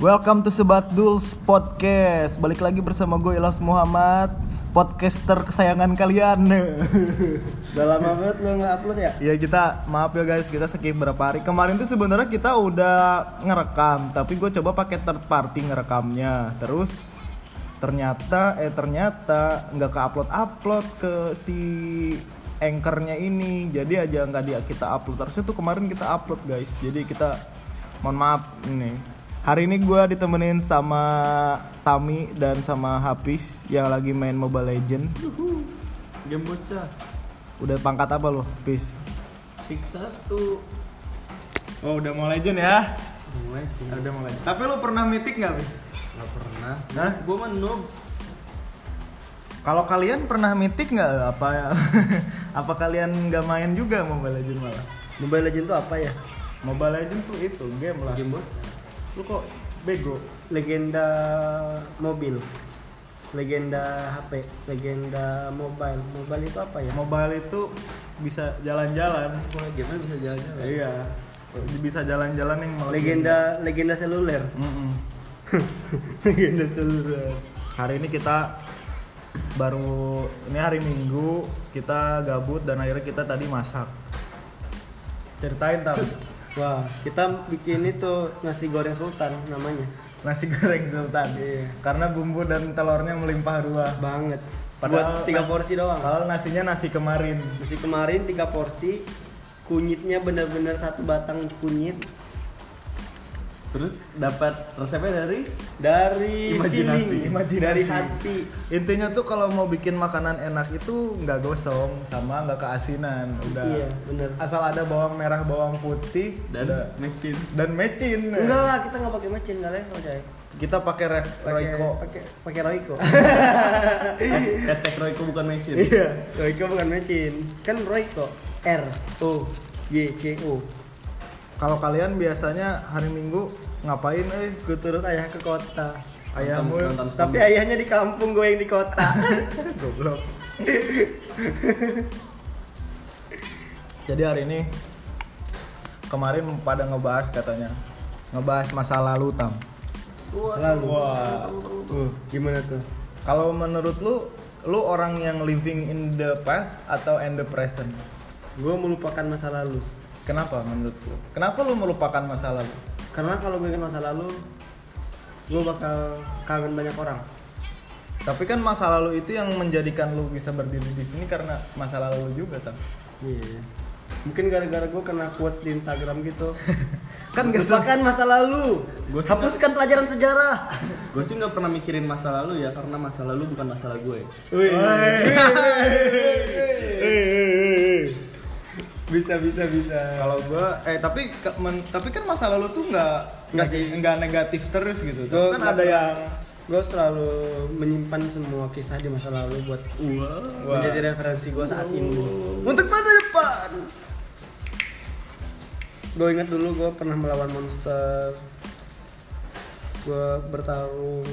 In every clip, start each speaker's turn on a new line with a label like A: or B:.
A: Welcome to Sebat Duls Podcast. Balik lagi bersama gue Ilas Muhammad, podcaster kesayangan kalian.
B: Udah lama banget lo nggak upload ya?
A: ya kita maaf ya guys, kita skip berapa hari. Kemarin tuh sebenarnya kita udah ngerekam, tapi gue coba pakai third party ngerekamnya. Terus ternyata eh ternyata nggak ke upload upload ke si anchornya ini jadi aja nggak dia kita upload terus itu kemarin kita upload guys jadi kita mohon maaf ini hari ini gue ditemenin sama Tami dan sama Hafiz yang lagi main Mobile Legend
B: Game bocah.
A: udah pangkat apa lo Hafiz
B: Pick satu.
A: oh udah mau Legend ya
B: Gue cuma
A: udah mau Legend tapi lo pernah mitik nggak Hafiz
B: nggak pernah.
A: Hah?
B: Gue mah noob.
A: Kalau kalian pernah mitik nggak apa apa kalian nggak main juga Mobile Legend malah?
B: Mobile Legend tuh apa ya?
A: Mobile Legend tuh itu game lah.
B: Game bocah.
A: Lu kok bego?
C: legenda mobil legenda HP legenda mobile mobile itu apa ya
A: Mobile itu bisa jalan-jalan.
B: Wah, game bisa jalan-jalan.
A: Iya. Bisa jalan-jalan yang malah
C: legenda legenda seluler
A: game. Mm-mm.
C: legenda seluler
A: Hari ini kita baru ini hari Minggu kita gabut dan akhirnya kita tadi masak. Ceritain tam
C: wah kita bikin itu nasi goreng sultan namanya
A: nasi goreng sultan.
C: Iya.
A: Karena bumbu dan telurnya melimpah ruah.
C: banget
A: Padahal
C: buat tiga
A: nasi-
C: porsi doang
A: Kalau nasinya nasi kemarin.
C: nasi kemarin tiga porsi kunyitnya bener-bener satu batang kunyit
B: Terus dapat resepnya dari
C: dari
A: Imajinasi,
C: feeling,
A: imajinasi.
C: dari hati
A: Intinya tuh kalau mau bikin makanan enak itu nggak gosong sama nggak keasinan, udah.
C: iya bener
A: Asal ada bawang merah, bawang putih
B: dan
A: udah.
B: mecin.
A: dan mecin.
C: enggak lah kita nggak pakai macin nggak level coy
A: Kita pakai re-
C: pakai Iya.
A: Royco.
C: pakai pakai Royco
B: Hashtag Royko bukan mecin.
C: Iya, Royco bukan mecin. Kan Royco R O Y C O.
A: Kalau kalian biasanya hari Minggu ngapain eh
C: Gue turut ayah ke kota.
A: ayahmu
B: nonton.
C: Tapi ayahnya di kampung, gue yang di kota.
A: goblok. Jadi hari ini kemarin pada ngebahas katanya ngebahas masa lalu tam.
C: Selalu.
A: Wah.
C: Uh, gimana tuh?
A: Kalau menurut lu, lu orang yang living in the past atau in the present?
C: Gue melupakan masa lalu.
A: Kenapa menurut lu? Kenapa lu melupakan masa lalu?
C: Karena kalau gue ingat masa lalu, gue bakal kangen banyak orang.
A: Tapi kan masa lalu itu yang menjadikan lu bisa berdiri di sini karena masa lalu lu juga, Tam.
C: Iya. Mungkin gara-gara gue kena quotes di Instagram gitu.
A: Kan gak
C: Lupakan masa lalu.
B: Gua sih
C: Hapuskan pelajaran sejarah.
B: Gue sih nggak pernah mikirin masa lalu ya karena masa ya. lalu bukan masalah gue.
C: Wih.
A: bisa bisa bisa. Kalau gua eh tapi ke- men- tapi kan masa lalu tuh nggak
C: Nggak sih.
A: nggak negatif terus gitu. Tam.
C: Gua
A: kan
C: nggak
A: ada
C: pernah-
A: yang
C: gue selalu menyimpan semua kisah di masa lalu buat
B: Wah.
A: Wah.
C: menjadi referensi gue saat ini.
A: untuk masa depan.
C: Gue ingat dulu gue pernah melawan monster, gue bertarung,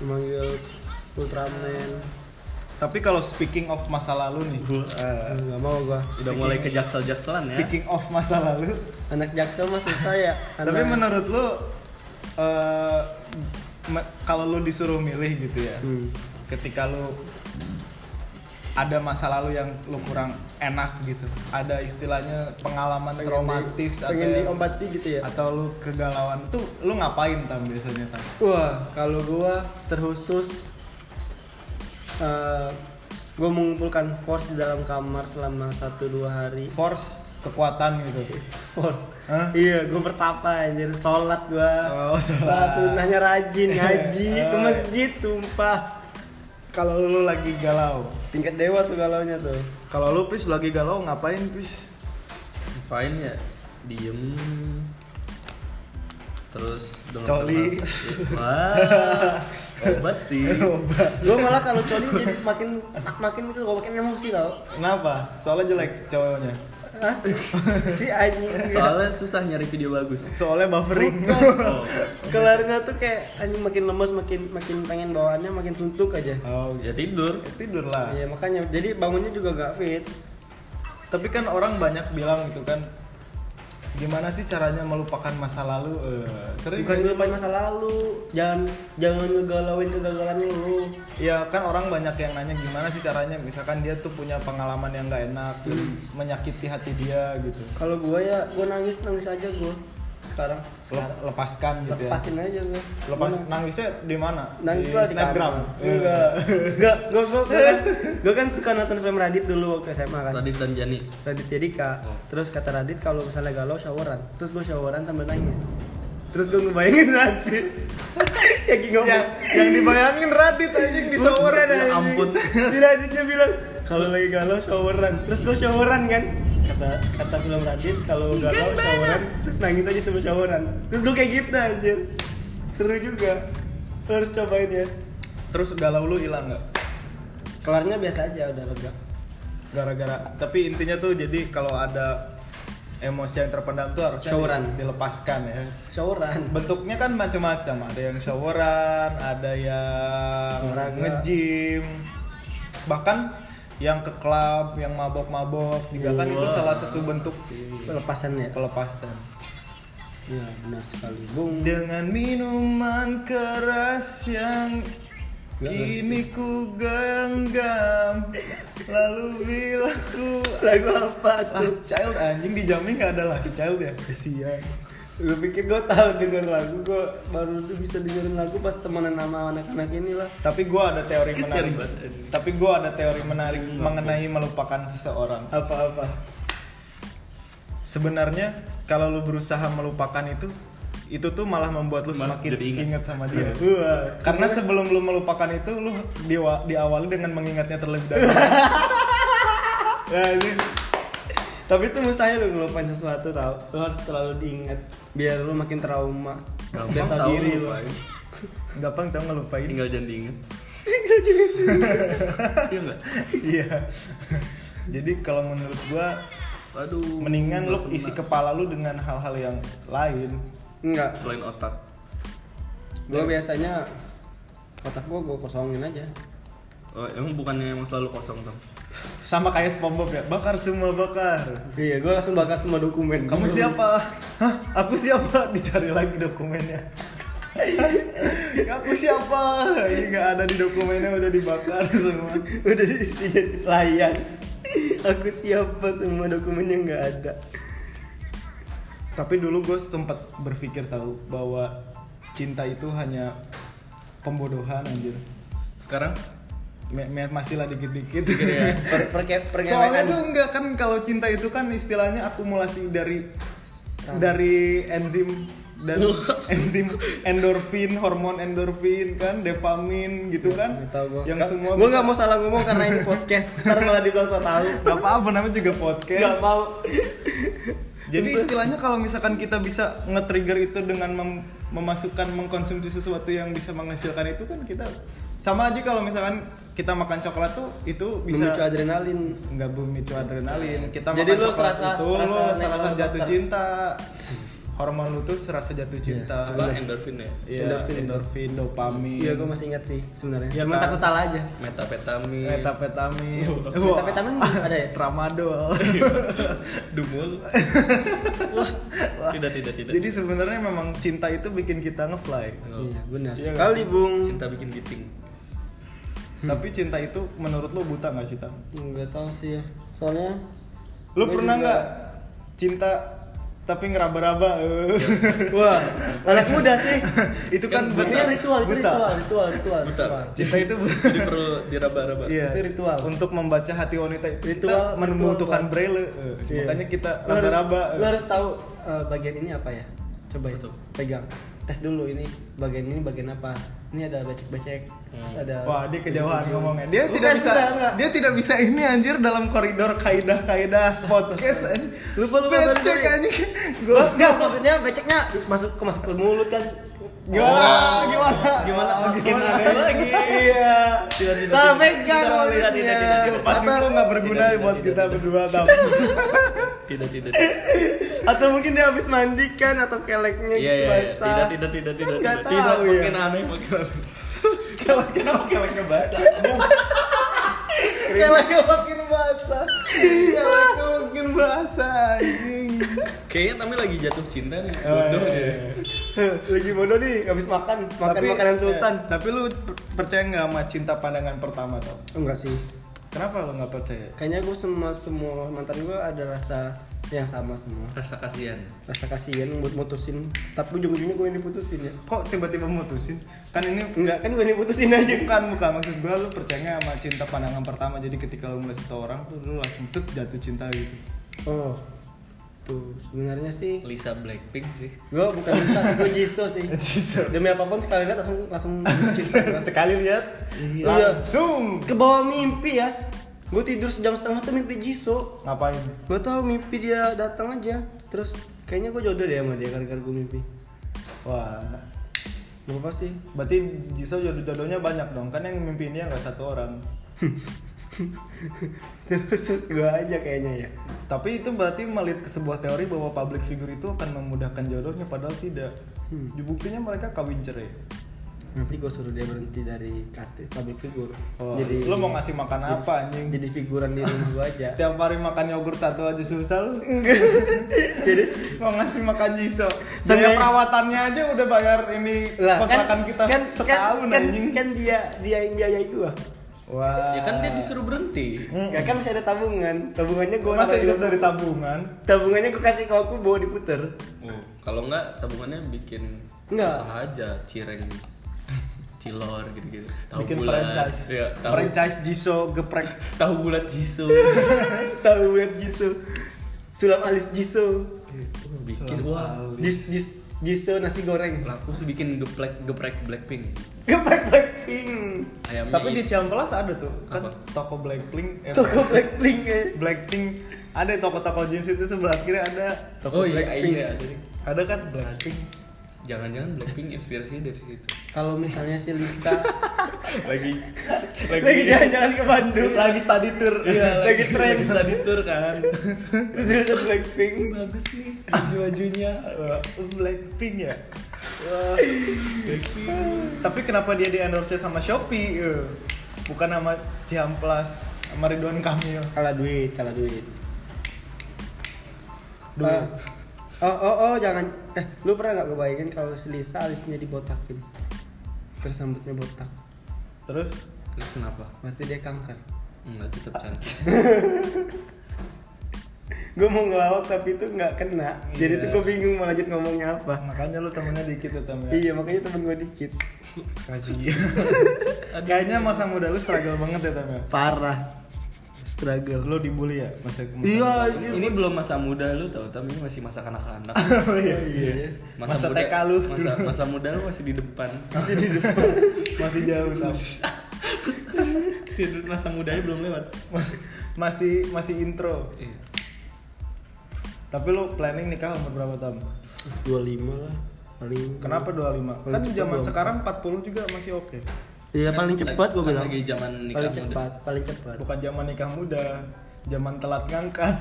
C: memanggil Ultraman.
A: Tapi kalau speaking of masa lalu nih, Eh,
C: Ah, Nggak mau gue.
B: Sudah mulai ke jaksel-jakselan ya.
A: speaking of masa lalu,
C: Anak jaksel mah susah ya.
A: tapi
C: anak-
A: menurut lu eh, me- kalau lu disuruh milih gitu ya,
C: Hmm.
A: ketika lu ada masa lalu yang lu kurang enak gitu, ada istilahnya pengalaman
C: pengen di-
A: traumatis
C: pengen
A: atau yang-
C: diobati gitu ya.
A: atau lu kegalauan tuh lu ngapain tam biasanya tam?
C: Wah, kalau gua terkhusus eh gua mengumpulkan force di dalam kamar selama 1 2 hari.
A: Force kekuatan gitu.
C: Force.
A: Hah?
C: Iya, gua bertapa anjir, salat gua.
A: Oh, salah.
C: Salat sunnahnya rajin, ngaji, ke
A: Oh.
C: masjid sumpah.
A: Kalau lu lagi galau,
C: Tingkat dewa tuh galaunya tuh.
A: kalau lu pis lagi galau ngapain pis?
B: Fine ya. Diem. Terus dengar
A: Coli.
B: Wah. obat sih
C: gue malah kalau coli jadi makin makin gitu gue makin emosi tau
A: Kenapa? Soalnya jelek cowoknya.
C: Hah? si anjing
B: soalnya susah nyari video bagus
A: Soalnya buffering.
B: oh.
C: kelarnya tuh kayak anjing makin lemes makin makin pengen bawaannya makin suntuk aja
A: Oh,
B: ya tidur
A: tidur lah.
C: Iya makanya jadi bangunnya juga gak fit
A: Tapi kan orang banyak bilang gitu kan gimana sih caranya melupakan masa lalu? Eh, sering
C: bukan lupain masa lalu jangan jangan ngegalauin kegagalan lu
A: Ya kan orang banyak yang nanya gimana sih caranya misalkan dia tuh punya pengalaman yang nggak enak, yang
C: Hmm.
A: menyakiti hati dia gitu.
C: kalau gua ya gua nangis nangis aja gua sekarang
A: Lep- Lepaskan gitu ya.
C: lepasin aja gua
A: Lepas
C: Gua
A: nangisnya di mana?
C: nangis Iya.
A: di
C: gua di
A: Instagram. Iya.
C: kamar.
A: Enggak.
C: enggak enggak gua gua gua kan, gua kan suka nonton film Radit dulu waktu SMA kan
B: Radit dan Jani
C: Radit Yadika
B: Oh.
C: terus kata Radit kalau misalnya galau showeran terus gua showeran sambil nangis terus gua ngebayangin Radit ya kayak ngomong
A: yang, yang dibayangin Radit anjing di showeran
B: Ya
A: anjing.
B: ampun.
C: si Raditnya bilang kalau lagi galau showeran terus gue showeran kan kata kata film Radit kalau galau showeran terus nangis aja sama showeran terus gue kayak gitu anjir seru juga Lo harus cobain ya
A: Terus galau lu hilang nggak?
C: kelarnya biasa aja udah lega
A: gara-gara tapi intinya tuh jadi kalau ada emosi yang terpendam tuh harusnya
C: Showeran.
A: di- dilepaskan ya
C: showeran
A: bentuknya kan macam-macam ada yang showeran ada yang
C: Olahraga.
A: nge-gym bahkan yang ke klub yang mabok-mabok juga kan itu
B: Wah.
A: salah satu bentuk
C: pelepasannya
A: pelepasan
C: ya benar sekali bung
A: dengan minuman keras yang
C: Gak
A: kini ku genggam lalu bila ku
C: lagu apa tuh
A: Last Child anjing di Jambi nggak ada Last Child ya? Kesian.
C: lu pikir gue tahu denger lagu gue baru tuh bisa dengerin lagu pas temenan sama anak-anak inilah
A: Tapi gue ada teori
B: Kesian
A: menarik.
B: banget.
A: Tapi gue ada teori menarik mengenai melupakan seseorang.
C: apa-apa
A: Sebenarnya kalau lu berusaha melupakan itu, itu tuh malah membuat lu
B: Malah
A: semakin
B: jadi ingat. Iya.
A: ingat sama dia.
C: Wah,
A: Karena sebelum lu melupakan itu, lu diwa- diawali dengan mengingatnya terlebih dahulu. Ya,
C: Nah, ini- Tapi itu mustahil lu ngelupain sesuatu tau Lu harus selalu diingat Biar lu makin trauma Biar
B: gampang
C: tau
B: tahu
C: diri lu
B: lupain.
A: Gampang tau ngelupain.
B: tinggal jangan diinget iya enggak
A: Iya. Jadi kalau menurut gua
B: aduh
A: mendingan lu
B: nggak
A: isi
B: pernah.
A: kepala lu dengan hal-hal yang lain.
C: Enggak
B: selain otak
C: Gue biasanya Otak gue gue kosongin aja
B: Oh, emang bukannya emang selalu kosong dong?
A: sama kayak SpongeBob ya bakar semua bakar
C: Iya gue langsung bakar semua dokumen
A: kamu siapa Hah? aku siapa dicari lagi dokumennya aku siapa ini nggak ada di dokumennya udah dibakar semua
C: Udah diisi jadi pelayan Aku siapa semua dokumennya nggak ada
A: tapi dulu gue sempat berpikir tahu bahwa cinta itu hanya pembodohan anjir
B: Sekarang
A: Me- me- masih lah dikit-dikit
B: ya.
C: Iya, per perke-
A: soalnya
C: perkenalan.
A: tuh enggak kan kalau cinta itu kan istilahnya akumulasi dari dari enzim dan enzim endorfin hormon endorfin kan dopamin gitu kan
C: Nggak tahu gua.
A: yang
C: Nggak-
A: semua
C: gua
A: bisa-
C: nggak mau salah ngomong karena ini podcast ntar malah dibilang so tau
A: nggak apa-apa namanya juga podcast
C: nggak mau
A: jadi istilahnya kalau misalkan kita bisa nge-trigger itu dengan mem- memasukkan mengkonsumsi sesuatu yang bisa menghasilkan itu kan kita sama aja kalau misalkan kita makan coklat tuh itu bisa
C: memicu adrenalin
A: nggak memicu adrenalin kita
C: Jadi
A: makan
C: lu
A: coklat
C: serasa-
A: itu
C: serasa
A: lu
C: naik
A: serasa
C: roller
A: jatuh
C: coaster. Iya.
A: cinta hormon lu tuh serasa jatuh cinta
B: apa endorfin ya?
A: Ah, Iya,
C: Endorfin.
A: endorfin dopamin
C: Iya, gue masih ingat sih sebenarnya.
A: Iya,
C: Cuma
A: kan?
C: takut salah aja.
B: Metapetamin.
C: Iya.
A: metapetamin Wah.
C: Metapetamin ada ya?
A: tramadol
C: Iya,
B: Dumul. Tidak, tidak,
C: gitu.
B: tidak.
A: jadi sebenarnya memang cinta itu bikin kita ngefly
B: Oh.
C: Iya, benar.
A: Iya,
C: Sekali, Bung.
B: Cinta bikin giting.
C: Hmm.
A: tapi cinta itu menurut lu buta nggak sih tam
C: Enggak tahu sih ya. Soalnya
A: lu
C: gua
A: pernah
C: juga-
A: nggak cinta tapi ngeraba-raba
C: Wah, anak muda sih.
A: itu kan
C: Iya. Kan
A: buta.
C: buta. ritual, itu
A: Buta.
C: ritual, ritual, ritual,
B: Buta.
C: ritual.
A: cinta itu bu-
B: Jadi perlu diraba-raba.
A: Iya.
C: Itu ritual.
A: Untuk membaca hati wanita itu
C: Ritual-
A: kita membutuhkan
C: ritual.
A: braille. Eh,
C: Iya.
A: Makanya kita
C: Lu harus-
A: raba-raba. eh.
C: Lu harus tahu eh, bagian ini apa ya? Coba ya.
B: Betul.
C: Pegang. Tes dulu ini bagian ini bagian apa? ini ada becek-becek
B: Hmm.
C: terus ada
A: Wah, dia kejauhan ngomongnya. Dia
C: Bukan,
A: tidak bisa
C: kan enggak, enggak.
A: dia tidak bisa ini anjir dalam koridor kaidah-kaidah podcast. anjing.
C: Lupa, lupa,
A: Becek
C: sorry.
A: anjing.
C: Gua
A: Gua
C: enggak maksudnya beceknya masuk ke masuk ke mulut kan.
A: gimana? Gimana?
B: Gimana?
C: Bikin
B: Gimana?
C: aneh lagi. Iya.
B: Tidak, tidak,
C: Sampai
B: tidak.
C: kan
B: Tidak, tidak, tidak, tidak,
C: mulutnya.
B: tidak.
A: Pasti
C: Atau-
A: lu nggak berguna
B: Tidak, tidak,
A: buat
B: tidak,
A: kita
B: tidak.
A: berdua tapi
B: Tidak, tidak, tidak.
C: Atau mungkin dia habis mandi kan atau keleknya
B: Iya,
C: gitu
B: iya, iya.
C: basah.
B: tidak, tidak, tidak,
C: Kan
B: tidak,
C: nggak
B: tidak, tidak,
C: tahu ya.
B: makin aneh, makin aneh. Kalau kenapa keleknya basah?
A: kelaknya makin basah.
C: Iya,
A: Kelaknya makin basah anjing.
B: Kayaknya Tami lagi jatuh cinta nih.
A: Oh,
B: Bodoh
A: iya,
B: dia.
A: iya.
C: Heh, Lagi bodoh nih habis makan, makan
A: Tapi-
C: makanan sultan.
A: eh, tapi lu per- percaya nggak sama cinta pandangan pertama tuh?
C: Enggak sih.
A: Kenapa lu nggak percaya?
C: Kayaknya gue semua semua mantan gue ada rasa yang sama semua.
B: Rasa kasihan.
C: Rasa kasihan buat mutusin. Tapi ujung-ujungnya gue yang diputusin ya.
A: Kok tiba-tiba mutusin? Kan ini
C: Enggak kan gue yang diputusin aja.
A: bukan bukan maksud gue lu percaya nggak sama cinta pandangan pertama jadi ketika lu melihat seseorang tuh lu langsung tut jatuh cinta gitu
C: Oh. Tuh, sebenarnya sih
B: Lisa Blackpink sih.
C: gue bukan bisa gue jiso sih demi apapun sekali lihat langsung langsung cinta gua.
A: sekali lihat
C: Iya.
A: langsung
C: ke bawah mimpi ya gue tidur sejam setengah tuh mimpi jiso
A: ngapain
C: gue tahu mimpi dia datang aja terus kayaknya gue jodoh deh sama dia gara-gara gue mimpi
A: wah
C: gak apa sih
A: berarti Jisoo jodoh-jodohnya banyak dong kan yang mimpin dia nggak satu orang
C: terus terus gue aja kayaknya ya
A: tapi itu berarti melihat ke sebuah teori bahwa public figure itu akan memudahkan jodohnya padahal tidak
C: Hmm.
A: buktinya mereka kawin cerai
C: nanti gue suruh dia berhenti dari kartu public figure
A: Wah, Oh, lu mau ngasih makan
C: jadi-
A: apa, anjing?
C: jadi figuran di rumah gue aja
A: tiap hari makan yogurt satu aja susah lu
C: jadi
A: mau ngasih makan Jisoo
C: Seenggaknya-
A: biaya perawatannya aja udah bayar ini
C: lah
A: kontrakan
C: kan,
A: kita
C: kan,
A: setahun
C: kan,
A: anjing
C: kan dia dia yang biayai gue
A: Wah.
B: Ya kan dia disuruh berhenti.
C: Gak kan masih ada tabungan, tabungannya gue
A: Gua Hmm. masih hidup dari tabungan.
C: tabungannya gue kasih ke aku bawa diputer
B: Oh, kalau enggak tabungannya bikin
C: Enggak.
B: usaha aja, cireng, cilor gitu-gitu. Tahu
A: bikin
B: bulat.
A: franchise.
B: Iya, tahu,
A: Franchise Jisoo geprek.
B: tahu bulat Jisoo.
C: tahu buat Jisoo sulam alis Jisoo
B: bikin
A: Selamat
B: wah.
A: malam.
C: Jis Jis Jisoo nasi goreng
B: Laku sih bikin geprek geprek Blackpink.
C: geprek Blackpink
B: Ayamnya
A: Tapi di Ciampelas ada tuh kan
B: Apa?
A: toko Blackpink. eh,
C: toko Blackpink eh.
A: Blackpink ada toko-toko jeans itu sebelah kiri ada.
B: Oh iya, iya. Jadi,
A: Ada kan Blackpink.
B: Jangan-jangan Blackpink inspirasinya dari situ.
C: kalau misalnya si Lisa
B: Lagi
C: lagi jalan-jalan ke Bandung Iya,
A: Lagi study tour.
B: Iya, lagi
C: lagi
B: tren
C: tren.
B: bisa ditur kan.
C: Lisa Blackpink
B: Bagus nih baju-bajunya.
A: Wah, Blackpink ya. Wah. Tapi kenapa dia di endorse sama Shopee? eh? Bukan sama Ciampelas, sama Ridwan Kamil.
C: kalah duit kalah duit
A: Duh.
C: Ah. oh oh oh jangan eh lu pernah nggak kebayangin kalau si Lisa alisnya dibotakin terus rambutnya botak
A: Terus
B: Terus kenapa?
C: berarti dia kanker
B: Enggak tetap cantik.
C: gue mau ngelawak tapi itu nggak kena jadi
B: Iya.
C: tuh gue bingung mau lanjut ngomongnya apa
A: makanya lu temennya dikit tuh Tam, ya.
C: iya makanya temen gue dikit
A: Kasihan. Kayaknya masa muda lu struggle banget ya Tam ya.
C: parah struggle
A: Lu dibully ya masa kemudian?
C: iya
B: ini belum masa muda lu tau tapi ini masih masa kanak-kanak
A: iya, iya. Masa
B: muda-
A: TK lu.
B: masa, masa muda lu masih di depan
A: Masih di depan. Masih jauh Tam.
B: si masa mudanya belum lewat
A: Masih- Masih masih intro.
B: Iya.
A: Tapi lu planning nikah umur berapa Tam?
C: 25 lah paling
A: Kenapa 25? Kan
C: Paling
A: zaman
C: cepet
A: sekarang 40 juga masih oke.
C: iya paling
B: Lagi-
C: cepat gue
B: kan
C: bilang
B: lagi zaman nikah
C: paling
B: muda.
C: cepat paling cepat
A: Bukan zaman nikah muda, zaman telat ngangkat.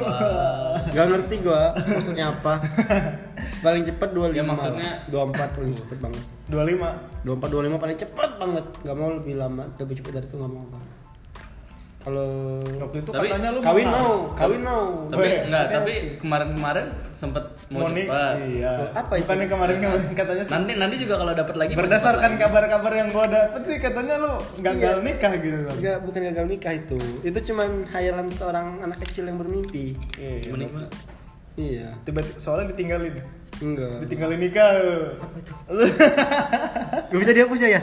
B: Wah.
C: Gak ngerti gue maksudnya apa paling cepat 25
B: Ya, maksudnya-
C: lah. 24 paling cepet banget
A: 25.
C: 24 25 paling cepet banget gak mau lebih lama lebih cepet dari itu gak mau gua. kalau
A: Waktu itu
B: Tapi
A: katanya lu
C: kawin
A: mahal.
C: mau kawin mau
B: tapi
A: Weh,
B: enggak
C: oke.
B: tapi kemarin-kemarin sempet mau
A: Monik,
B: cepat
A: Iya.
C: Apa itu?
A: Bukannya kemarin kemarin katanya sih.
B: nanti nanti juga kalau dapat lagi mau
A: Berdasarkan
B: cepat lagi.
A: kabar-kabar yang gua dapet sih katanya lu gagal
C: Iya.
A: nikah gitu kan.
C: Enggak, bukan gagal nikah itu. Itu cuman hayalan seorang anak kecil yang bermimpi.
A: Iya.
B: Menik- Mak.
C: Iya.
A: Tiba-tiba soalnya ditinggalin.
C: Enggak.
A: Ditinggalin nikah. Lu-
C: Gak bisa dihapus ya, ya?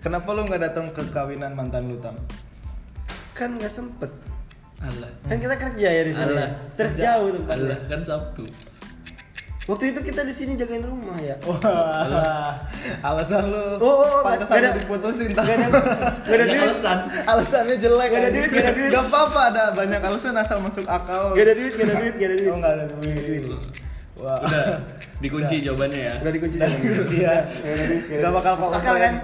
A: Kenapa lu nggak datang ke kawinan mantan lu tam?
C: Kan gak sempet.
B: Alah.
C: Kan kita kerja ya di sini.
B: Alah.
C: Terus
B: Kerja.
C: jauh tempatnya.
B: Alah, kan Sabtu.
C: Waktu itu kita di sini jagain rumah ya.
A: Wah, alasan lu.
C: Oh, oh, oh,
A: pantesan
C: gak ada-
A: lu diputusin tau.
C: Gak ada, gak ada duit.
B: alasan.
A: Alasannya jelek.
C: Gak ada
A: anjing.
C: duit, gak ada duit.
A: Gak apa-apa, ada banyak alasan asal masuk akal.
C: Gak ada duit, gak ada duit, gak ada duit.
A: Oh, gak ada duit. Wah.
B: Udah dikunci jawabannya ya.
C: Udah dikunci.
A: Udah dikunci, ya.
C: Gak ada duit, kan?
A: Gak
C: gak ada
A: bakal
C: duit.
A: call
C: Masuk akal
A: friend.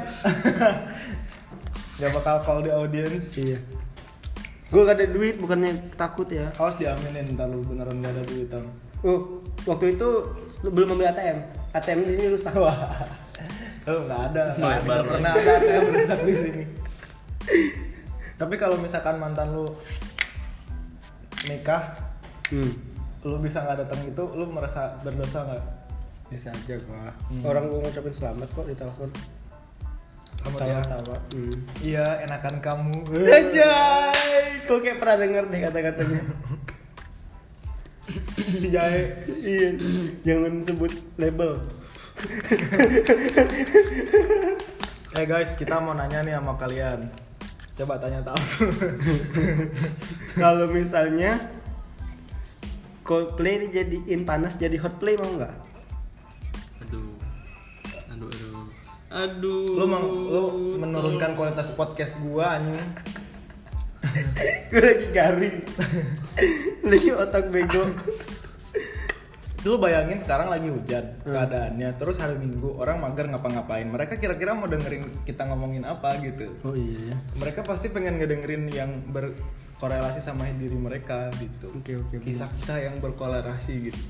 A: Gak bakal call the audience.
C: Iya. Gue gak ada duit bukannya takut ya.
A: Awas diaminin ntar lu beneran gak ada duit tau.
C: Oh, waktu itu belum membeli ATM. ATM di sini rusak.
A: Wah. Lu gak ada. nggak ada,
B: Melebar
A: nggak pernah ada yang berusak di sini. Tapi kalau misalkan mantan lu nikah,
C: Hmm.
A: lu bisa nggak datang itu, lu merasa berdosa nggak?
C: Bisa aja gua. Orang gua ngucapin selamat kok di telepon.
A: Kamu
C: Tawa.
A: tawa.
C: Hmm.
A: Iya,
C: Iya.
A: enakan kamu.
C: Eh. Anjay, kok kayak pernah denger deh kata-katanya.
A: si jahe.
C: iya, jangan sebut label.
A: Eh guys, kita mau nanya nih sama kalian. Coba tanya tahu.
C: Kalau misalnya Coldplay dijadiin panas jadi hot play mau nggak?
B: Aduh. Aduh aduh. Aduh.
A: lu mau lu menurunkan kualitas podcast gua anjing.
C: Gue lagi garing, lagi otak bego.
A: Lu bayangin sekarang lagi hujan
C: Hmm.
A: keadaannya, terus hari Minggu orang mager ngapa-ngapain. Mereka kira-kira mau dengerin kita ngomongin apa gitu.
C: Oh iya.
A: Mereka pasti pengen ngedengerin yang berkorelasi sama diri mereka gitu.
C: Oke, oke, bener.
A: Kisah-kisah yang berkorelasi gitu.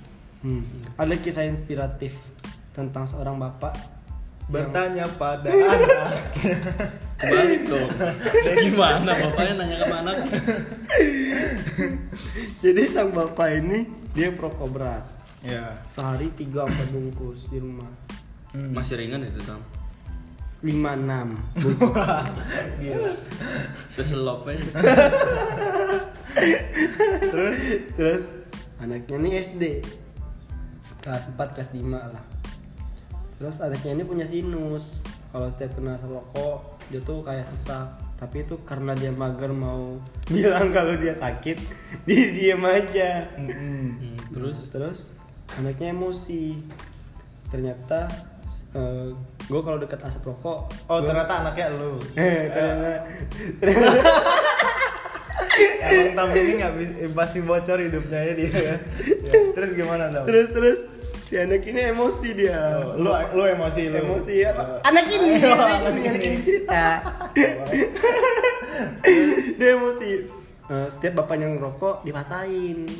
C: Hmm. Ada kisah inspiratif tentang seorang bapak.
A: Bertanya pada anak.
B: Kebalik dong. Kayak gimana bapaknya nanya ke anak?
C: Jadi sang bapak ini dia perokok berat.
A: Ya.
C: Sehari 3 empat bungkus di rumah.
B: Masih ringan itu tam.
C: 5 6.
A: Gila.
B: Seselop aja.
C: terus terus anaknya nih SD kelas 4 kelas 5 lah terus anaknya ini punya sinus kalau setiap kena rokok dia tuh kayak sesak tapi itu karena dia mager mau bilang kalau dia sakit dia diem aja
A: Mm-mm.
B: Hmm, terus
C: terus anaknya emosi ternyata gue kalau dekat asap rokok
A: Oh
C: gua-
A: ternyata anaknya lu.
C: Eh, ternyata
A: Emang tampil ini nggak bisa, eh, pasti bocor hidupnya ya dia. ya. Ya. Terus gimana dong?
C: terus terus si anak ini emosi dia
A: Oh, lu lu emosi lu.
C: emosi ya Pak.
A: Eh,
C: anak ini
A: Ayo,
C: anak
A: anak
C: ini, anak ini
A: ini.
C: cerita dia emosi Eh, setiap bapaknya ngerokok dipatahin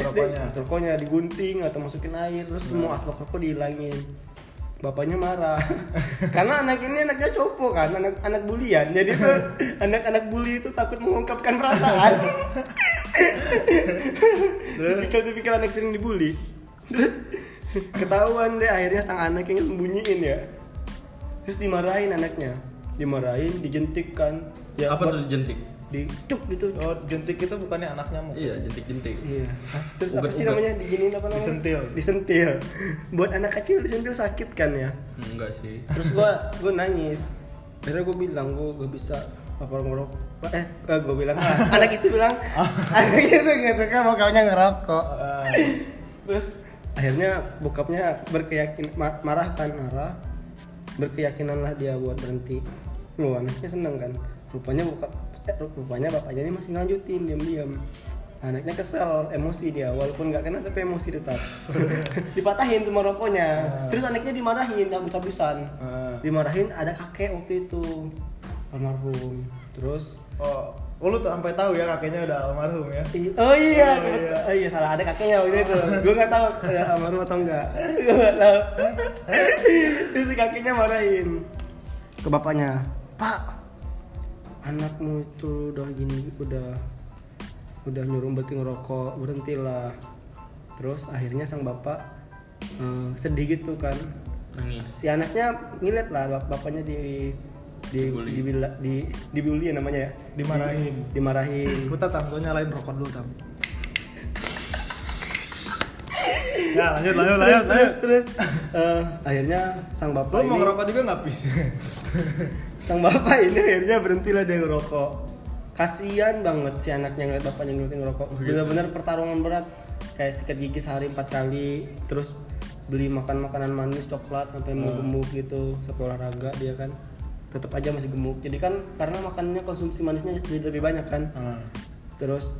A: Rokoknya.
C: Dia- rokoknya digunting atau masukin air terus semua asbak rokok dihilangin bapaknya marah karena anak ini anaknya copo kan anak anak bulian jadi tuh anak-anak bully itu takut mengungkapkan perasaan tipikal tipikal anak sering dibully terus ketahuan deh akhirnya sang anak yang sembunyiin ya terus dimarahin anaknya dimarahin dijentik kan ya
B: apa
C: ber-
B: tuh jentik?
C: dicuk gitu
A: Oh jentik itu bukannya anak nyamuk.
B: Iya jentik jentik.
C: Iya. Terus apa
B: Uber-
C: sih
B: Uber.
C: namanya diginiin apa namanya?
A: Disentil.
C: Disentil. Buat anak kecil disentil sakit kan ya.
B: Enggak sih.
C: Terus gua gua nangis. Akhirnya gua bilang gua gak bisa apa ngerokok. Eh, eh, gua bilang ah, anak itu bilang
B: Ah.
C: anak itu gak suka bokapnya ngerokok.
A: Eh,
C: Terus akhirnya bokapnya berkeyakin ma- marah kan marah. Berkeyakinan lah dia buat berhenti. Lu anaknya seneng kan. Rupanya bokap eh, rupanya bapaknya ini masih lanjutin diam-diam. Anaknya kesel, emosi dia, walaupun nggak kena tapi emosi tetap. Dipatahin sama rokoknya, terus anaknya dimarahin habis-habisan.
A: eh.
C: Dimarahin ada kakek waktu itu almarhum. Terus
A: Oh, oh, lu tuh sampai tahu ya kakeknya udah almarhum ya.
C: I- Oh iya,
A: Oh,
C: kebet-
A: iya.
C: oh iya salah ada kakeknya waktu itu. Gue nggak tahu ada almarhum atau enggak. Gue nggak tahu. Terus si kakeknya marahin ke bapaknya. Pak, anakmu itu udah gini, udah udah nyuruh berhenti ngerokok, berhentilah. Terus akhirnya sang bapak eh, sedih gitu kan
B: Nangis.
C: si anaknya ngeliat lah bap- bapaknya di di
B: Dibully.
C: dibila- di dibully ya namanya ya
A: Dimarahin.
C: Di- dimarahin
A: Putar tam, gua nyalain rokok dulu tam. Ya lanjut lanjut lanjut lanjut.
C: terus terus eh, akhirnya sang bapak
A: Lu mau
C: ini
A: ngerokok juga nggak pis?
C: sang bapak ini akhirnya berhentilah
A: Oh,
C: dia
A: gitu.
C: ngerokok kasian banget si anaknya ngeliat bapaknya ngeliatin ngerokok bener-bener pertarungan berat kayak sikat gigi sehari empat kali terus beli makan makanan manis coklat sampai
A: Hmm.
C: mau gemuk gitu sampai olahraga dia kan tetap aja masih gemuk jadi kan karena makannya konsumsi manisnya jadi lebih banyak kan
A: Hmm.
C: terus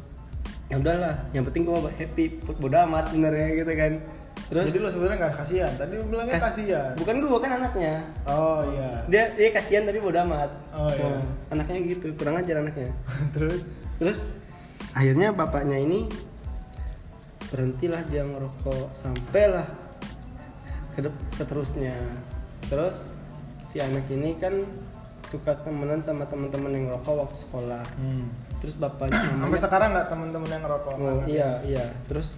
C: ya udahlah yang penting gua happy bodo amat sebenarnya gitu kan terus Eh.
A: Jadi lo sebenarnya nggak kasihan. Tadi lo bilangnya
C: kas-
A: kasihan.
C: bukan gua kan anaknya
A: Oh iya.
C: dia dia kasihan tapi bodo amat
A: Oh, iya.
C: Nah, anaknya gitu kurang ajar anaknya
A: Terus
C: terus akhirnya bapaknya ini berhentilah dia ngerokok sampailah ke dep- seterusnya terus si anak ini kan suka temenan sama teman-teman yang ngerokok waktu sekolah terus bapaknya
A: Hmm. sampai
C: mamanya-
A: sekarang nggak teman-teman yang ngerokok?
C: Hmm. Oh, iya iya terus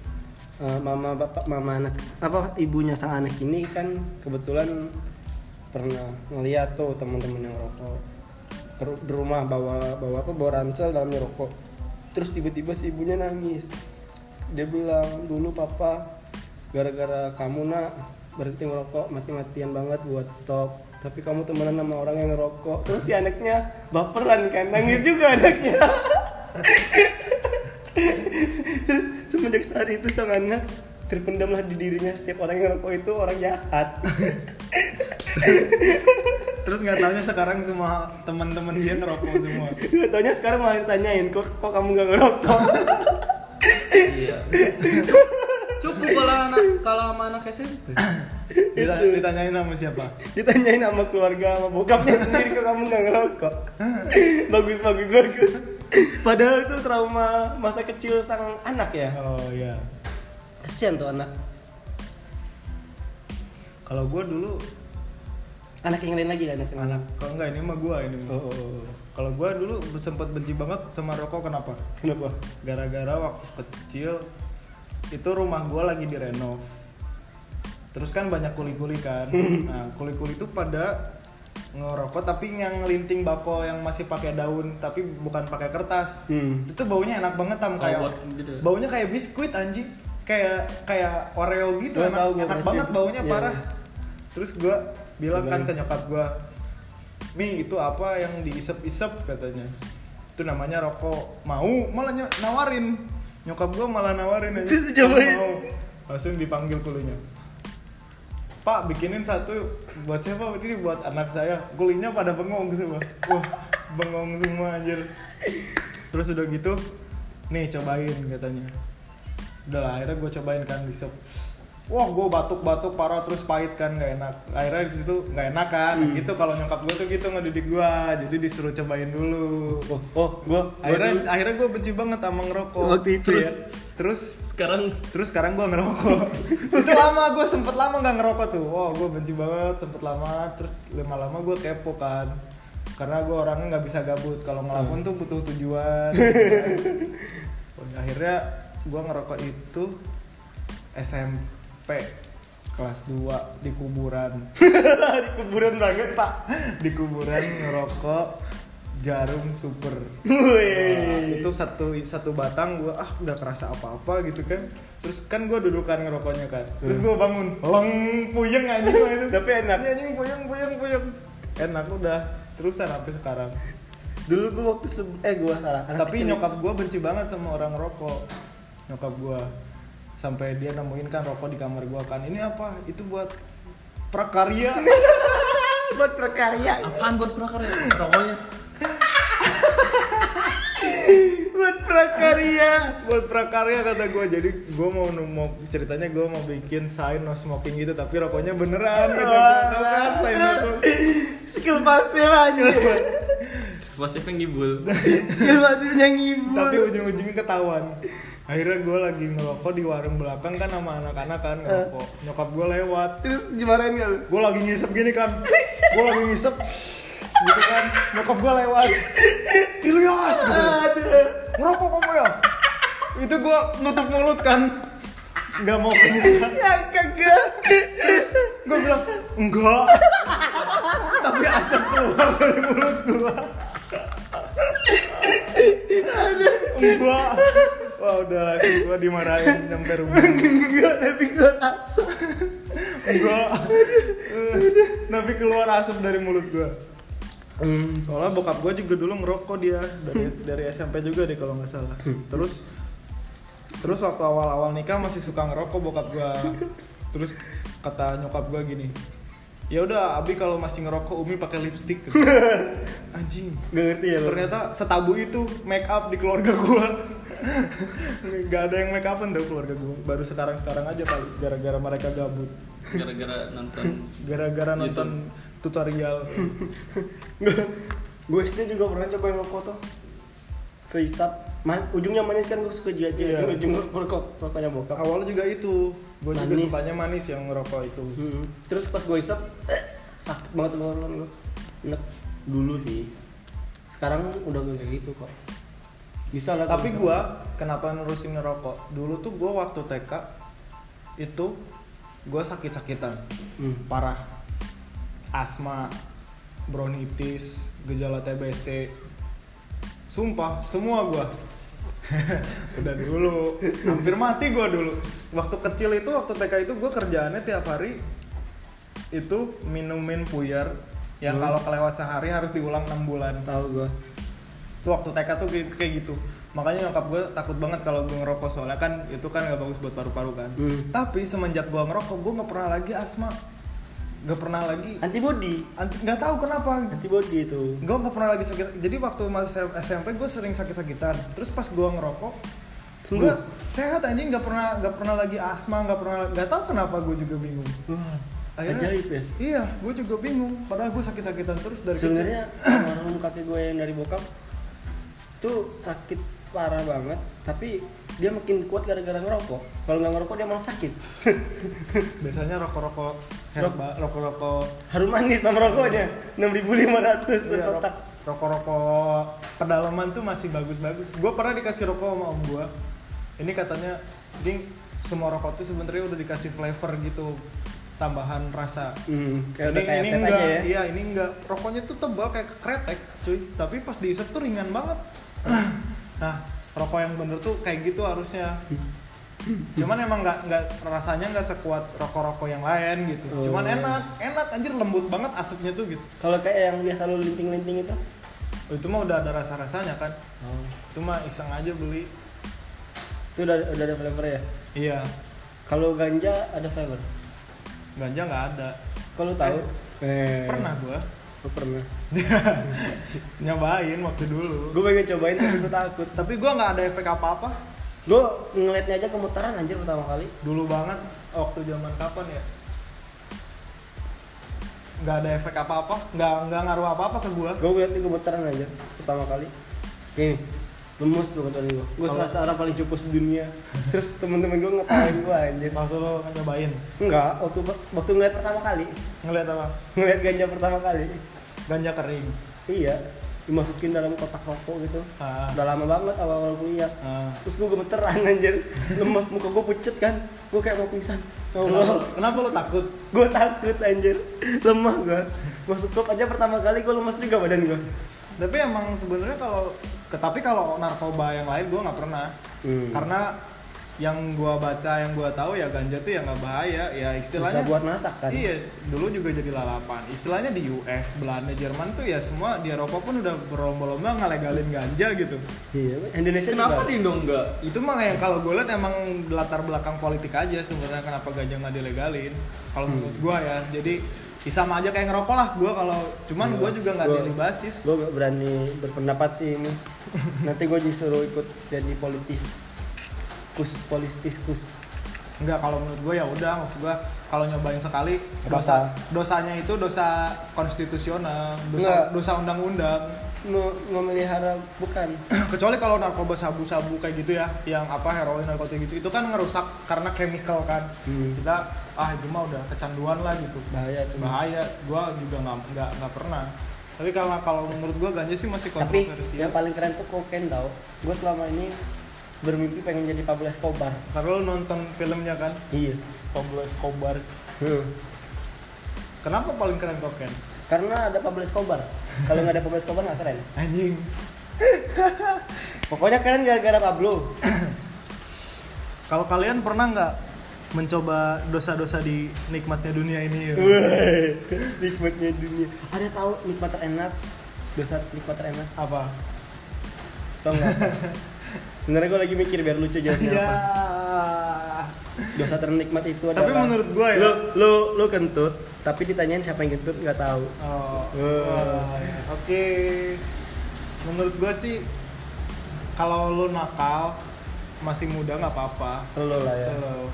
C: eh, mama bapak mama anak apa ibunya sang anak ini kan kebetulan pernah ngeliat tuh teman-teman yang rokok ke ru- di rumah bawa bawa apa bawa ransel dalamnya rokok terus tiba-tiba si ibunya nangis dia bilang dulu papa gara-gara kamu nak berhenti ngerokok mati-matian banget buat stop tapi kamu temenan sama orang yang ngerokok terus si anaknya baperan kan nangis juga anaknya terus semenjak saat itu sang anak terpendamlah di dirinya setiap orang yang rokok itu orang jahat
A: Terus nggak tahunya sekarang semua teman-teman dia ngerokok semua.
C: Gitu. Taunya sekarang malah ditanyain kok kok kamu gak ngerokok
B: Iya. Cukup kalau anak kalau sama anak SMP.
A: Dita-
C: Itu.
A: ditanyain sama siapa?
C: ditanyain sama keluarga sama bokapnya sendiri kok kamu gak ngerokok bagus bagus bagus padahal itu trauma masa kecil sang anak ya
A: Oh iya.
C: kasian tuh anak
A: Kalau gue dulu
C: anak yang lain lagi kan, anak yang
A: anak kalau nggak ini mah gue ini. mah.
C: Hmm. oh, oh, oh.
A: Kalau gue dulu sempat benci banget sama rokok kenapa?
C: kenapa
A: gara-gara waktu kecil itu rumah gue lagi direnov terus kan banyak kuli-kuli kan nah kuli-kuli itu pada ngerokok tapi yang linting bako yang masih pakai daun tapi bukan pakai kertas
C: hmm.
A: itu baunya enak banget tam
B: Kalau
A: kayak
B: buat gitu.
A: baunya kayak biskuit anjing kayak kayak oreo gitu
C: Gua
A: enak,
C: tahu, gua
A: enak
C: pernah
A: banget
C: cium.
A: baunya
C: Iya,
A: parah
C: iya.
A: terus gua bilang kan
C: Gimana?
A: ke nyokap gua mi itu apa yang diisep-isep katanya itu namanya rokok mau malah ny- nawarin nyokap gua malah nawarin aja
C: Terus dicobain.
A: mau langsung dipanggil kulinya Pak bikinin satu buat siapa? Ini buat anak saya. Kulinya pada bengong semua. Wah, bengong semua anjir. Terus udah gitu, nih cobain katanya. Udah lah, akhirnya gue cobain kan besok. Wah, gue batuk-batuk parah terus pahit kan gak enak. Akhirnya di situ gak enak kan.
C: Hmm.
A: Gitu kalau nyokap gue tuh gitu ngedidik gue. Jadi disuruh cobain dulu.
C: oh oh gua
A: Akhirnya akhirnya gue benci banget sama ngerokok.
C: Waktu itu
A: terus,
C: ya?
A: Terus
B: Sekarang
A: Terus sekarang gue ngerokok. itu lama gue sempet lama nggak ngerokok tuh. Wow, gue benci banget sempet lama. Terus lama-lama gue kepo kan. Karena gue orangnya nggak bisa gabut. Kalau ngelakuin tuh butuh tujuan. Akhirnya gue ngerokok itu SMP kelas 2 di kuburan
C: di kuburan banget pak
A: di kuburan ngerokok jarum super Nah,
C: Wih.
A: itu satu satu batang gue ah nggak kerasa apa-apa gitu kan terus kan gue dudukan ngerokoknya kan terus gue bangun leng puyeng anjing lah itu
C: Hmm. Tapi enak.
A: Iya, anjing puyeng puyeng puyeng enak udah terusan sampai sekarang
C: dulu gua waktu se- eh gua salah anak
A: tapi
C: kecil.
A: nyokap gue benci banget sama orang rokok nyokap gue sampai dia nemuin kan rokok di kamar gue kan ini apa itu buat prakarya
C: Ah, buat perkarya
B: apaan buat prakarya? Rokoknya.
A: buat prakarya buat prakarya kata gue jadi gue mau mau ceritanya gue mau bikin sign no smoking gitu tapi rokoknya beneran gitu Tau kan sign no smoking
C: skill pasif aja
B: Pasifnya ngibul.
C: skill pasifnya ngibul
A: tapi ujung-ujungnya ketahuan akhirnya gue lagi ngerokok di warung belakang kan sama anak-anak kan
C: Eh.
A: ngerokok nyokap gue lewat
C: terus dimarahin gak lu
A: gue lagi ngisep gini kan gue lagi ngisep gitu kan nyokap gue lewat Ilyas gitu
C: aduh
A: ngerokok kamu ya itu gue nutup mulut kan nggak mau kebuka
C: ya kagak
A: gue bilang enggak tapi asap keluar dari mulut gua enggak wah udah lagi gua dimarahin sampai rumah
C: enggak tapi gua langsung
A: enggak tapi eh, keluar asap dari mulut gua soalnya bokap gua juga dulu ngerokok dia dari dari SMP juga deh kalau nggak salah terus terus waktu awal-awal nikah masih suka ngerokok bokap gua terus kata nyokap gua gini ya udah abi kalau masih ngerokok umi pakai lipstick anjing
C: Gak ngerti ya lo?
A: ternyata setabu itu make up di keluarga gua nggak ada yang make upan dong keluarga gua baru sekarang sekarang aja kali gara-gara mereka gabut
B: gara-gara nonton
A: gara-gara nonton tutorial
C: Gue SD juga pernah cobain rokok tuh Seisap Man, ujungnya manis kan gue suka
A: Iya.
C: jajah ujung rokok rokoknya bokap
A: Nah, awalnya juga itu gua juga
C: Manis.
A: sukanya manis yang ngerokok itu
C: Hmm. Terus pas gue isap, sakit banget tenggorokan gue. Enak dulu sih. Sekarang udah gak kayak gitu kok. Bisa lah.
A: tapi
C: kalau
A: gua kenapa nerusin ngerokok dulu tuh gua waktu TK itu gua sakit-sakitan
C: misalkan. Hmm.
A: parah asma bronitis gejala TBC sumpah semua gua udah dulu hampir mati gua dulu waktu kecil itu waktu TK itu gua kerjaannya tiap hari itu minumin puyer yang
C: Hmm.
A: kalau kelewat sehari harus diulang 6 bulan
C: Tahu gue.
A: Tuh, waktu TK tuh kayak- kayak gitu makanya nyokap gue takut banget kalau gue ngerokok soalnya kan itu kan nggak bagus buat paru-paru kan
C: Hmm.
A: tapi semenjak gue ngerokok gue nggak pernah lagi asma nggak pernah lagi
C: Antibody.
A: anti- nggak tahu kenapa
C: Antibody itu.
A: gue nggak pernah lagi sakit jadi waktu masih SMP gue sering sakit-sakitan terus pas gue ngerokok
C: Sembuh?
A: gue sehat anjing nggak pernah nggak pernah lagi asma nggak pernah nggak tahu kenapa gue juga bingung
C: Wah.
A: Akhirnya-
C: Ajaib ya.
A: iya gue juga bingung padahal gue sakit-sakitan terus dari kecil.
C: Sebenarnya almarhum kakek gue yang dari bokap tuh sakit parah banget, tapi dia makin kuat gara-gara ngerokok. Kalau nggak ngerokok dia malah sakit.
A: biasanya rokok-rokok herba rokok-rokok
C: Harum manis sama rokoknya. 6500
A: Iya,
C: sekotak.
A: rok- rokok-rokok pedalaman tuh masih bagus-bagus. Gue pernah dikasih rokok sama om gue. Ini katanya, ding semua rokok tuh sebenarnya udah dikasih flavor gitu, tambahan rasa.
C: Hmm,
A: ini
C: kayak udah kayak
A: ini
C: vape
A: enggak,
C: aja ya.
A: iya ini enggak. Rokoknya tuh tebal kayak kretek, cuy. Tapi pas diisep tuh ringan banget. nah, rokok yang bener tuh kayak gitu harusnya. Cuman emang nggak nggak rasanya nggak sekuat rokok-rokok yang lain gitu. Cuman
C: Oh.
A: enak, enak anjir lembut banget asapnya tuh gitu.
C: Kalau kayak yang biasa lu linting-linting itu?
A: Oh, itu mah udah ada rasa-rasanya kan itu mah iseng aja beli
C: Itu udah, udah ada flavor ya?
A: iya
C: Kalau ganja ada flavor.
A: ganja nggak ada
C: Kalau tahu? Eh,
A: pernah gua
C: Gua pernah.
A: nyobain waktu dulu
C: Gue pengen cobain tapi gue takut.
A: tapi gua nggak ada efek apa-apa
C: Gue ngeliatnya aja kemutaran anjir pertama kali.
A: dulu banget waktu zaman kapan ya nggak ada efek apa-apa nggak nggak ngaruh apa-apa ke gua
C: Gue ngeliatnya kemutaran aja pertama kali. Nih, lemus tuh kata gue. Gue
A: Kalau-
C: serasa orang paling cupu sedunia. Terus temen-temen gue ngetawain gue anjir.
A: waktu lo nyobain
C: Enggak, waktu waktu ngeliat pertama kali,
A: ngeliat apa
C: ngeliat ganja pertama kali.
A: ganja kering
C: Iya, dimasukin dalam kotak rokok gitu.
A: ah,
C: Udah lama banget awal-awal kuliah.
A: ah.
C: terus gue gemeteran anjir lemes muka gue pucet kan gue kayak mau pingsan ya
A: Kenapa,
C: Allah
A: kenapa lo takut?
C: gue takut anjir lemah gue masuk klub aja pertama kali gue lemes juga badan gue
A: Tapi emang sebenarnya kalau, tapi kalau narkoba yang lain gua nggak pernah.
C: karena
A: karena yang gua baca yang gua tahu ya ganja tuh ya nggak bahaya ya
C: bisa
A: istilahnya
C: buat masak kan
A: iya dulu juga jadi lalapan istilahnya di US Belanda Jerman tuh ya semua di Eropa pun udah berlomba-lomba ngelegalin ganja gitu
C: Iya, Indonesia
B: kenapa
C: juga.
B: di dong enggak
A: itu mah yang kalau gue lihat emang latar belakang politik aja sebenarnya kenapa ganja nggak dilegalin kalau
C: Hmm.
A: menurut gua ya jadi ya sama aja kayak ngerokok lah gua kalau cuman
C: Iya.
A: gua juga nggak
C: Gua-
A: ada basis
C: gue gak berani berpendapat sih ini nanti gue disuruh ikut jadi politis kus politis kus
A: Enggak kalau menurut gue ya udah maksud gue kalau nyobain sekali
C: Kenapa?
A: dosa dosanya itu dosa konstitusional, dosa
C: Enggak.
A: dosa undang-undang.
C: Mem- memelihara bukan
A: Kecuali kalau narkoba sabu-sabu kayak gitu ya, yang apa heroin narkotik gitu itu kan ngerusak karena chemical kan.
C: Hmm.
A: Kita ah itu mah udah kecanduan lah gitu.
C: bahaya tuh
A: Bahaya, gue juga nggak nggak nggak pernah. Tapi kalau kalau menurut gue ganja sih masih
C: tapi
A: kontroversial.
C: yang paling keren tuh kokain tau gue selama ini bermimpi pengen jadi Pablo Escobar
A: Karena lo nonton filmnya kan,
C: iya Hmm.
A: Pablo Escobar. Kenapa paling keren kokain?
C: karena ada Pablo Escobar kalau nggak ada Pablo Escobar nggak keren
A: Anjing.
C: pokoknya keren gara-gara Pablo
A: Kalau kalian pernah nggak mencoba dosa-dosa di nikmatnya dunia ini? ya?
C: Wey, nikmatnya dunia ada tahu nikmat terenak dosa nikmat terenak
A: Apa?
C: tau nggak Sebenarnya gue lagi mikir biar lucu jawabnya
A: Ya.
C: apa. Dosa ternikmat itu adalah.
A: Tapi menurut gua ya.
C: Lu lu lu kentut, tapi ditanyain siapa yang kentut nggak tahu.
A: Oh.
C: Eh.
A: wah, Oke. Menurut gua sih kalau lu nakal masih muda nggak apa-apa.
C: Selalu lah ya.
A: Slow.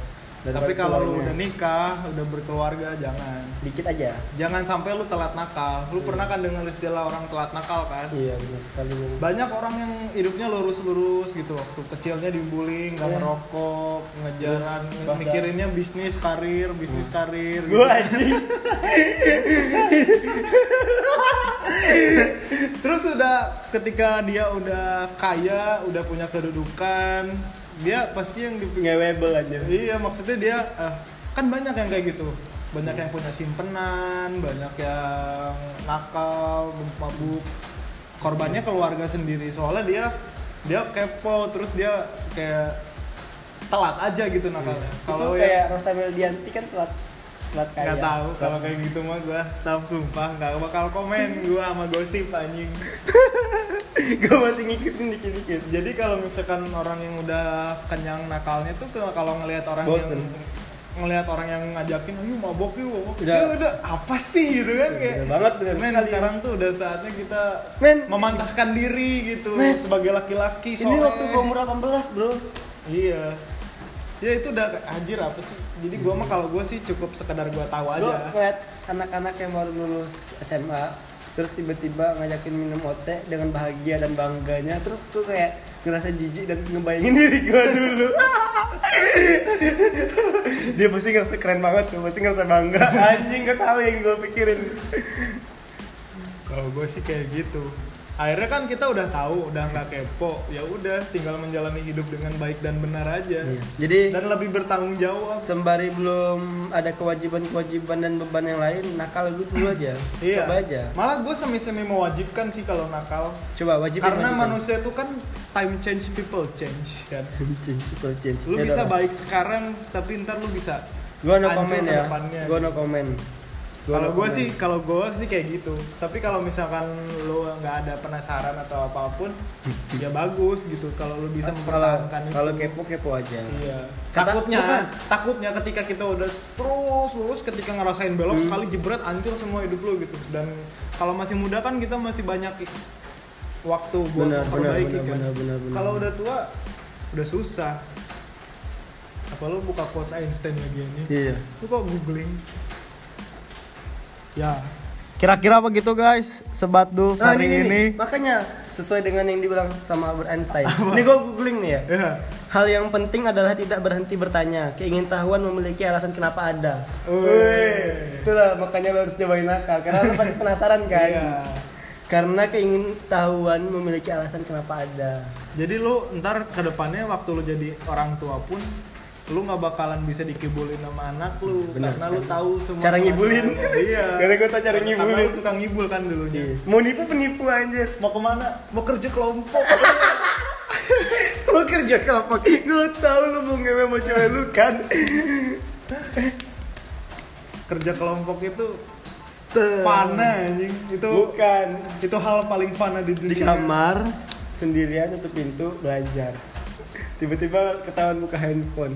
C: Dan
A: Tapi
C: buat
A: kalau lu
C: keluarnya.
A: udah nikah, udah berkeluarga jangan.
C: Dikit aja.
A: Jangan sampai lu telat nakal. Lu pernah kan dengar istilah orang telat nakal kan?
C: Iya benar sekali.
A: Banyak orang yang hidupnya lurus-lurus gitu waktu kecilnya dibully, nggak
C: Iya.
A: ngerokok, ngejaran,
C: Terus, Iya. bahkan-
A: mikirinnya bisnis karir, bisnis karir. gitu.
C: Gue anjing.
A: Terus udah ketika dia udah kaya, udah punya kedudukan, dia pasti yang di
C: Ngewebel aja.
A: Iya, maksudnya dia eh, kan banyak yang kayak gitu. Banyak yang punya simpenan, banyak yang nakal, mabuk. Korbannya keluarga sendiri soalnya dia dia kepo terus dia kayak telat aja gitu nakalnya.
C: Kalau
A: Kalau
C: Iya. kayak
A: ya
C: Rosamel Dianti kan telat telat kaya.
A: nggak tahu kalau kayak gitu mah gua tam sumpah nggak bakal komen gua sama gosip anjing.
C: gue masih ngikutin dikit-dikit.
A: Jadi kalau misalkan orang yang udah kenyang nakalnya tuh ke- kalau ngelihat orang
C: Bosen.
A: yang ngelihat orang yang ngajakin ayo mabok yuk mabok."
C: Udah.
A: ya udah apa sih gitu kan kayak
C: Bener banget bener
A: men
C: sekali.
A: sekarang tuh udah saatnya kita
C: Men,
A: memantaskan diri gitu
C: Men.
A: sebagai laki-laki
C: ini
A: soalnya
C: waktu gue umur 18 bro.
A: iya ya itu udah kayak, anjir apa sih jadi gua mah kalau gua sih cukup sekedar gua tahu
C: Gue
A: aja
C: ngeliat anak-anak yang baru lulus SMA terus tiba-tiba ngajakin minum ote dengan bahagia dan bangganya terus tuh kayak ngerasa jijik dan ngebayangin diri gue dulu dia pasti ngerasa keren banget tuh pasti ngerasa bangga anjing gak tahu yang gue pikirin
A: kalau gua sih kayak gitu akhirnya kan kita udah tahu udah nggak kepo ya udah tinggal menjalani hidup dengan baik dan benar aja
C: Iya. jadi
A: dan lebih bertanggung jawab
C: sembari belum ada kewajiban-kewajiban dan beban yang lain nakal lu dulu aja coba aja
A: Iya. malah gue semi semi mewajibkan sih kalau nakal
C: coba wajib
A: karena manusia itu kan time change people change kan
C: change
A: lu bisa baik sekarang tapi ntar lu bisa
C: gua no
A: hancur
C: comment
A: ke
C: ya
A: depannya.
C: gua no comment Gua
A: kalau gue
C: no comment.
A: sih kalau gue sih kayak gitu tapi kalau misalkan lu nggak ada penasaran atau apapun ya bagus gitu kalau lu bisa
C: Kalau-
A: mempertahankan itu
C: kalau kepo kepo aja
A: Iya.
C: Kata-
A: Takutnya,
C: bukan.
A: takutnya ketika kita udah terus lurus ketika ngerasain belok
C: Hmm.
A: sekali jebret hancur semua hidup lo gitu. Dan kalau masih muda kan kita masih banyak i- waktu buat
C: Benar, benar,
A: memperbaiki
C: benar,
A: kan.
C: benar, benar, benar.
A: Kalau udah tua udah susah. Apa lo buka quotes Einstein lagi ini?
C: iya
A: Lu kok googling? Ya. Kira-kira begitu guys, sebat dulu
C: nah, ini, ini makanya sesuai dengan yang dibilang sama Albert Einstein ini gua googling nih ya
A: Ya.
C: Hal yang penting adalah tidak berhenti bertanya. Keingintahuan memiliki alasan kenapa ada.
A: Wih.
C: Wih, Itulah makanya lo harus cobain nakal karena lo pasti penasaran kan.
A: Iya.
C: Karena keingintahuan memiliki alasan kenapa ada.
A: Jadi lu ntar kedepannya waktu lu jadi orang tua pun lu nggak bakalan bisa dikibulin sama anak lu
C: Benar
A: karena
C: sekali.
A: lu tahu semua
C: Cara ngibulin.
A: masalahnya. iya
C: Gara-gara gua tau cara
A: Karena
C: ngibulin.
A: lu tukang ngibul kan dulunya
C: Iya. Mau nipu penipu anjir.
A: mau kemana mau kerja kelompok
C: Lo kerja kelapa. Gue tahu lo mau ngewe sama cewek lu kan.
A: kerja kelompok itu
C: Tuh.
A: fana anjing itu
C: Eh. Bukan.
A: itu hal paling fana di dunia
C: Di kamar sendirian tutup pintu belajar. Tiba-tiba ketahuan buka handphone.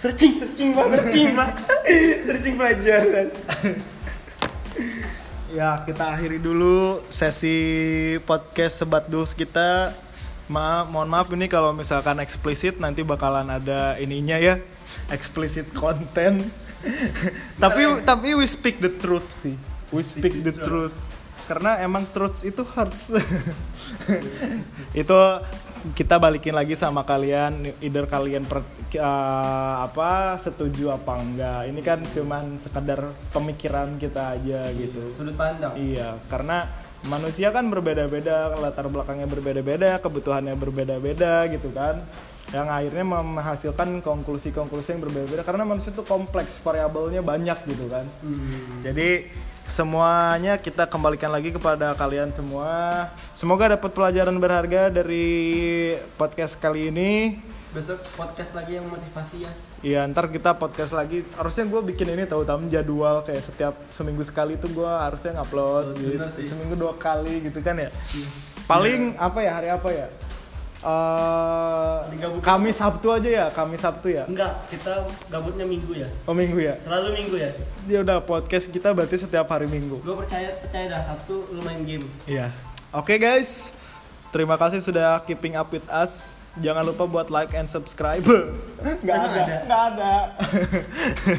C: Searching, searching, bang, searching, bang. searching pelajaran.
A: ya kita akhiri dulu sesi podcast sebat dus kita maaf mohon maaf ini kalau misalkan eksplisit nanti bakalan ada ininya ya eksplisit konten tapi tapi we speak the truth sih we speak the truth karena emang truth itu hurts itu kita balikin lagi sama kalian either kalian per- eh, apa setuju apa enggak ini kan cuman sekedar pemikiran kita aja gitu
C: Sudut pandang.
A: Iya, karena manusia kan berbeda-beda, latar belakangnya berbeda-beda, kebutuhannya berbeda-beda gitu kan. Yang akhirnya menghasilkan konklusi-konklusi yang berbeda-beda karena manusia itu kompleks, variabelnya banyak gitu kan. Jadi semuanya kita kembalikan lagi kepada kalian semua. Semoga dapat pelajaran berharga dari podcast kali ini.
C: Besok podcast lagi yang motivasi ya.
A: Iya, ntar kita podcast lagi. Harusnya gue bikin ini tahu tahu jadwal kayak setiap seminggu sekali tuh gue harusnya ngupload
C: Oh,
A: gitu.
C: bener sih. Iya.
A: seminggu dua kali gitu kan ya. Paling apa ya hari apa ya? eh
C: Digabungin.
A: Kamis Sabtu aja ya, Kamis Sabtu ya.
C: Enggak, kita gabutnya minggu ya.
A: Oh Minggu ya.
C: Selalu minggu ya.
A: Ya udah podcast kita berarti setiap hari Minggu.
C: Gue percaya percaya dah Sabtu lu main game.
A: Iya. Oke guys. Terima kasih sudah keeping up with us. Jangan lupa buat like and subscribe. Nggak
C: Emang
A: ada,
C: ada?
A: nggak ada.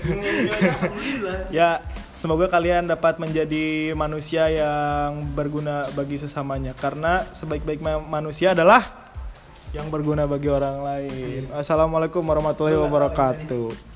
C: Enjoy, Alhamdulillah.
A: ya, semoga kalian dapat menjadi manusia yang berguna bagi sesamanya. Karena sebaik-baik ma- manusia adalah yang berguna bagi orang lain. Assalamualaikum warahmatullahi wabarakatuh.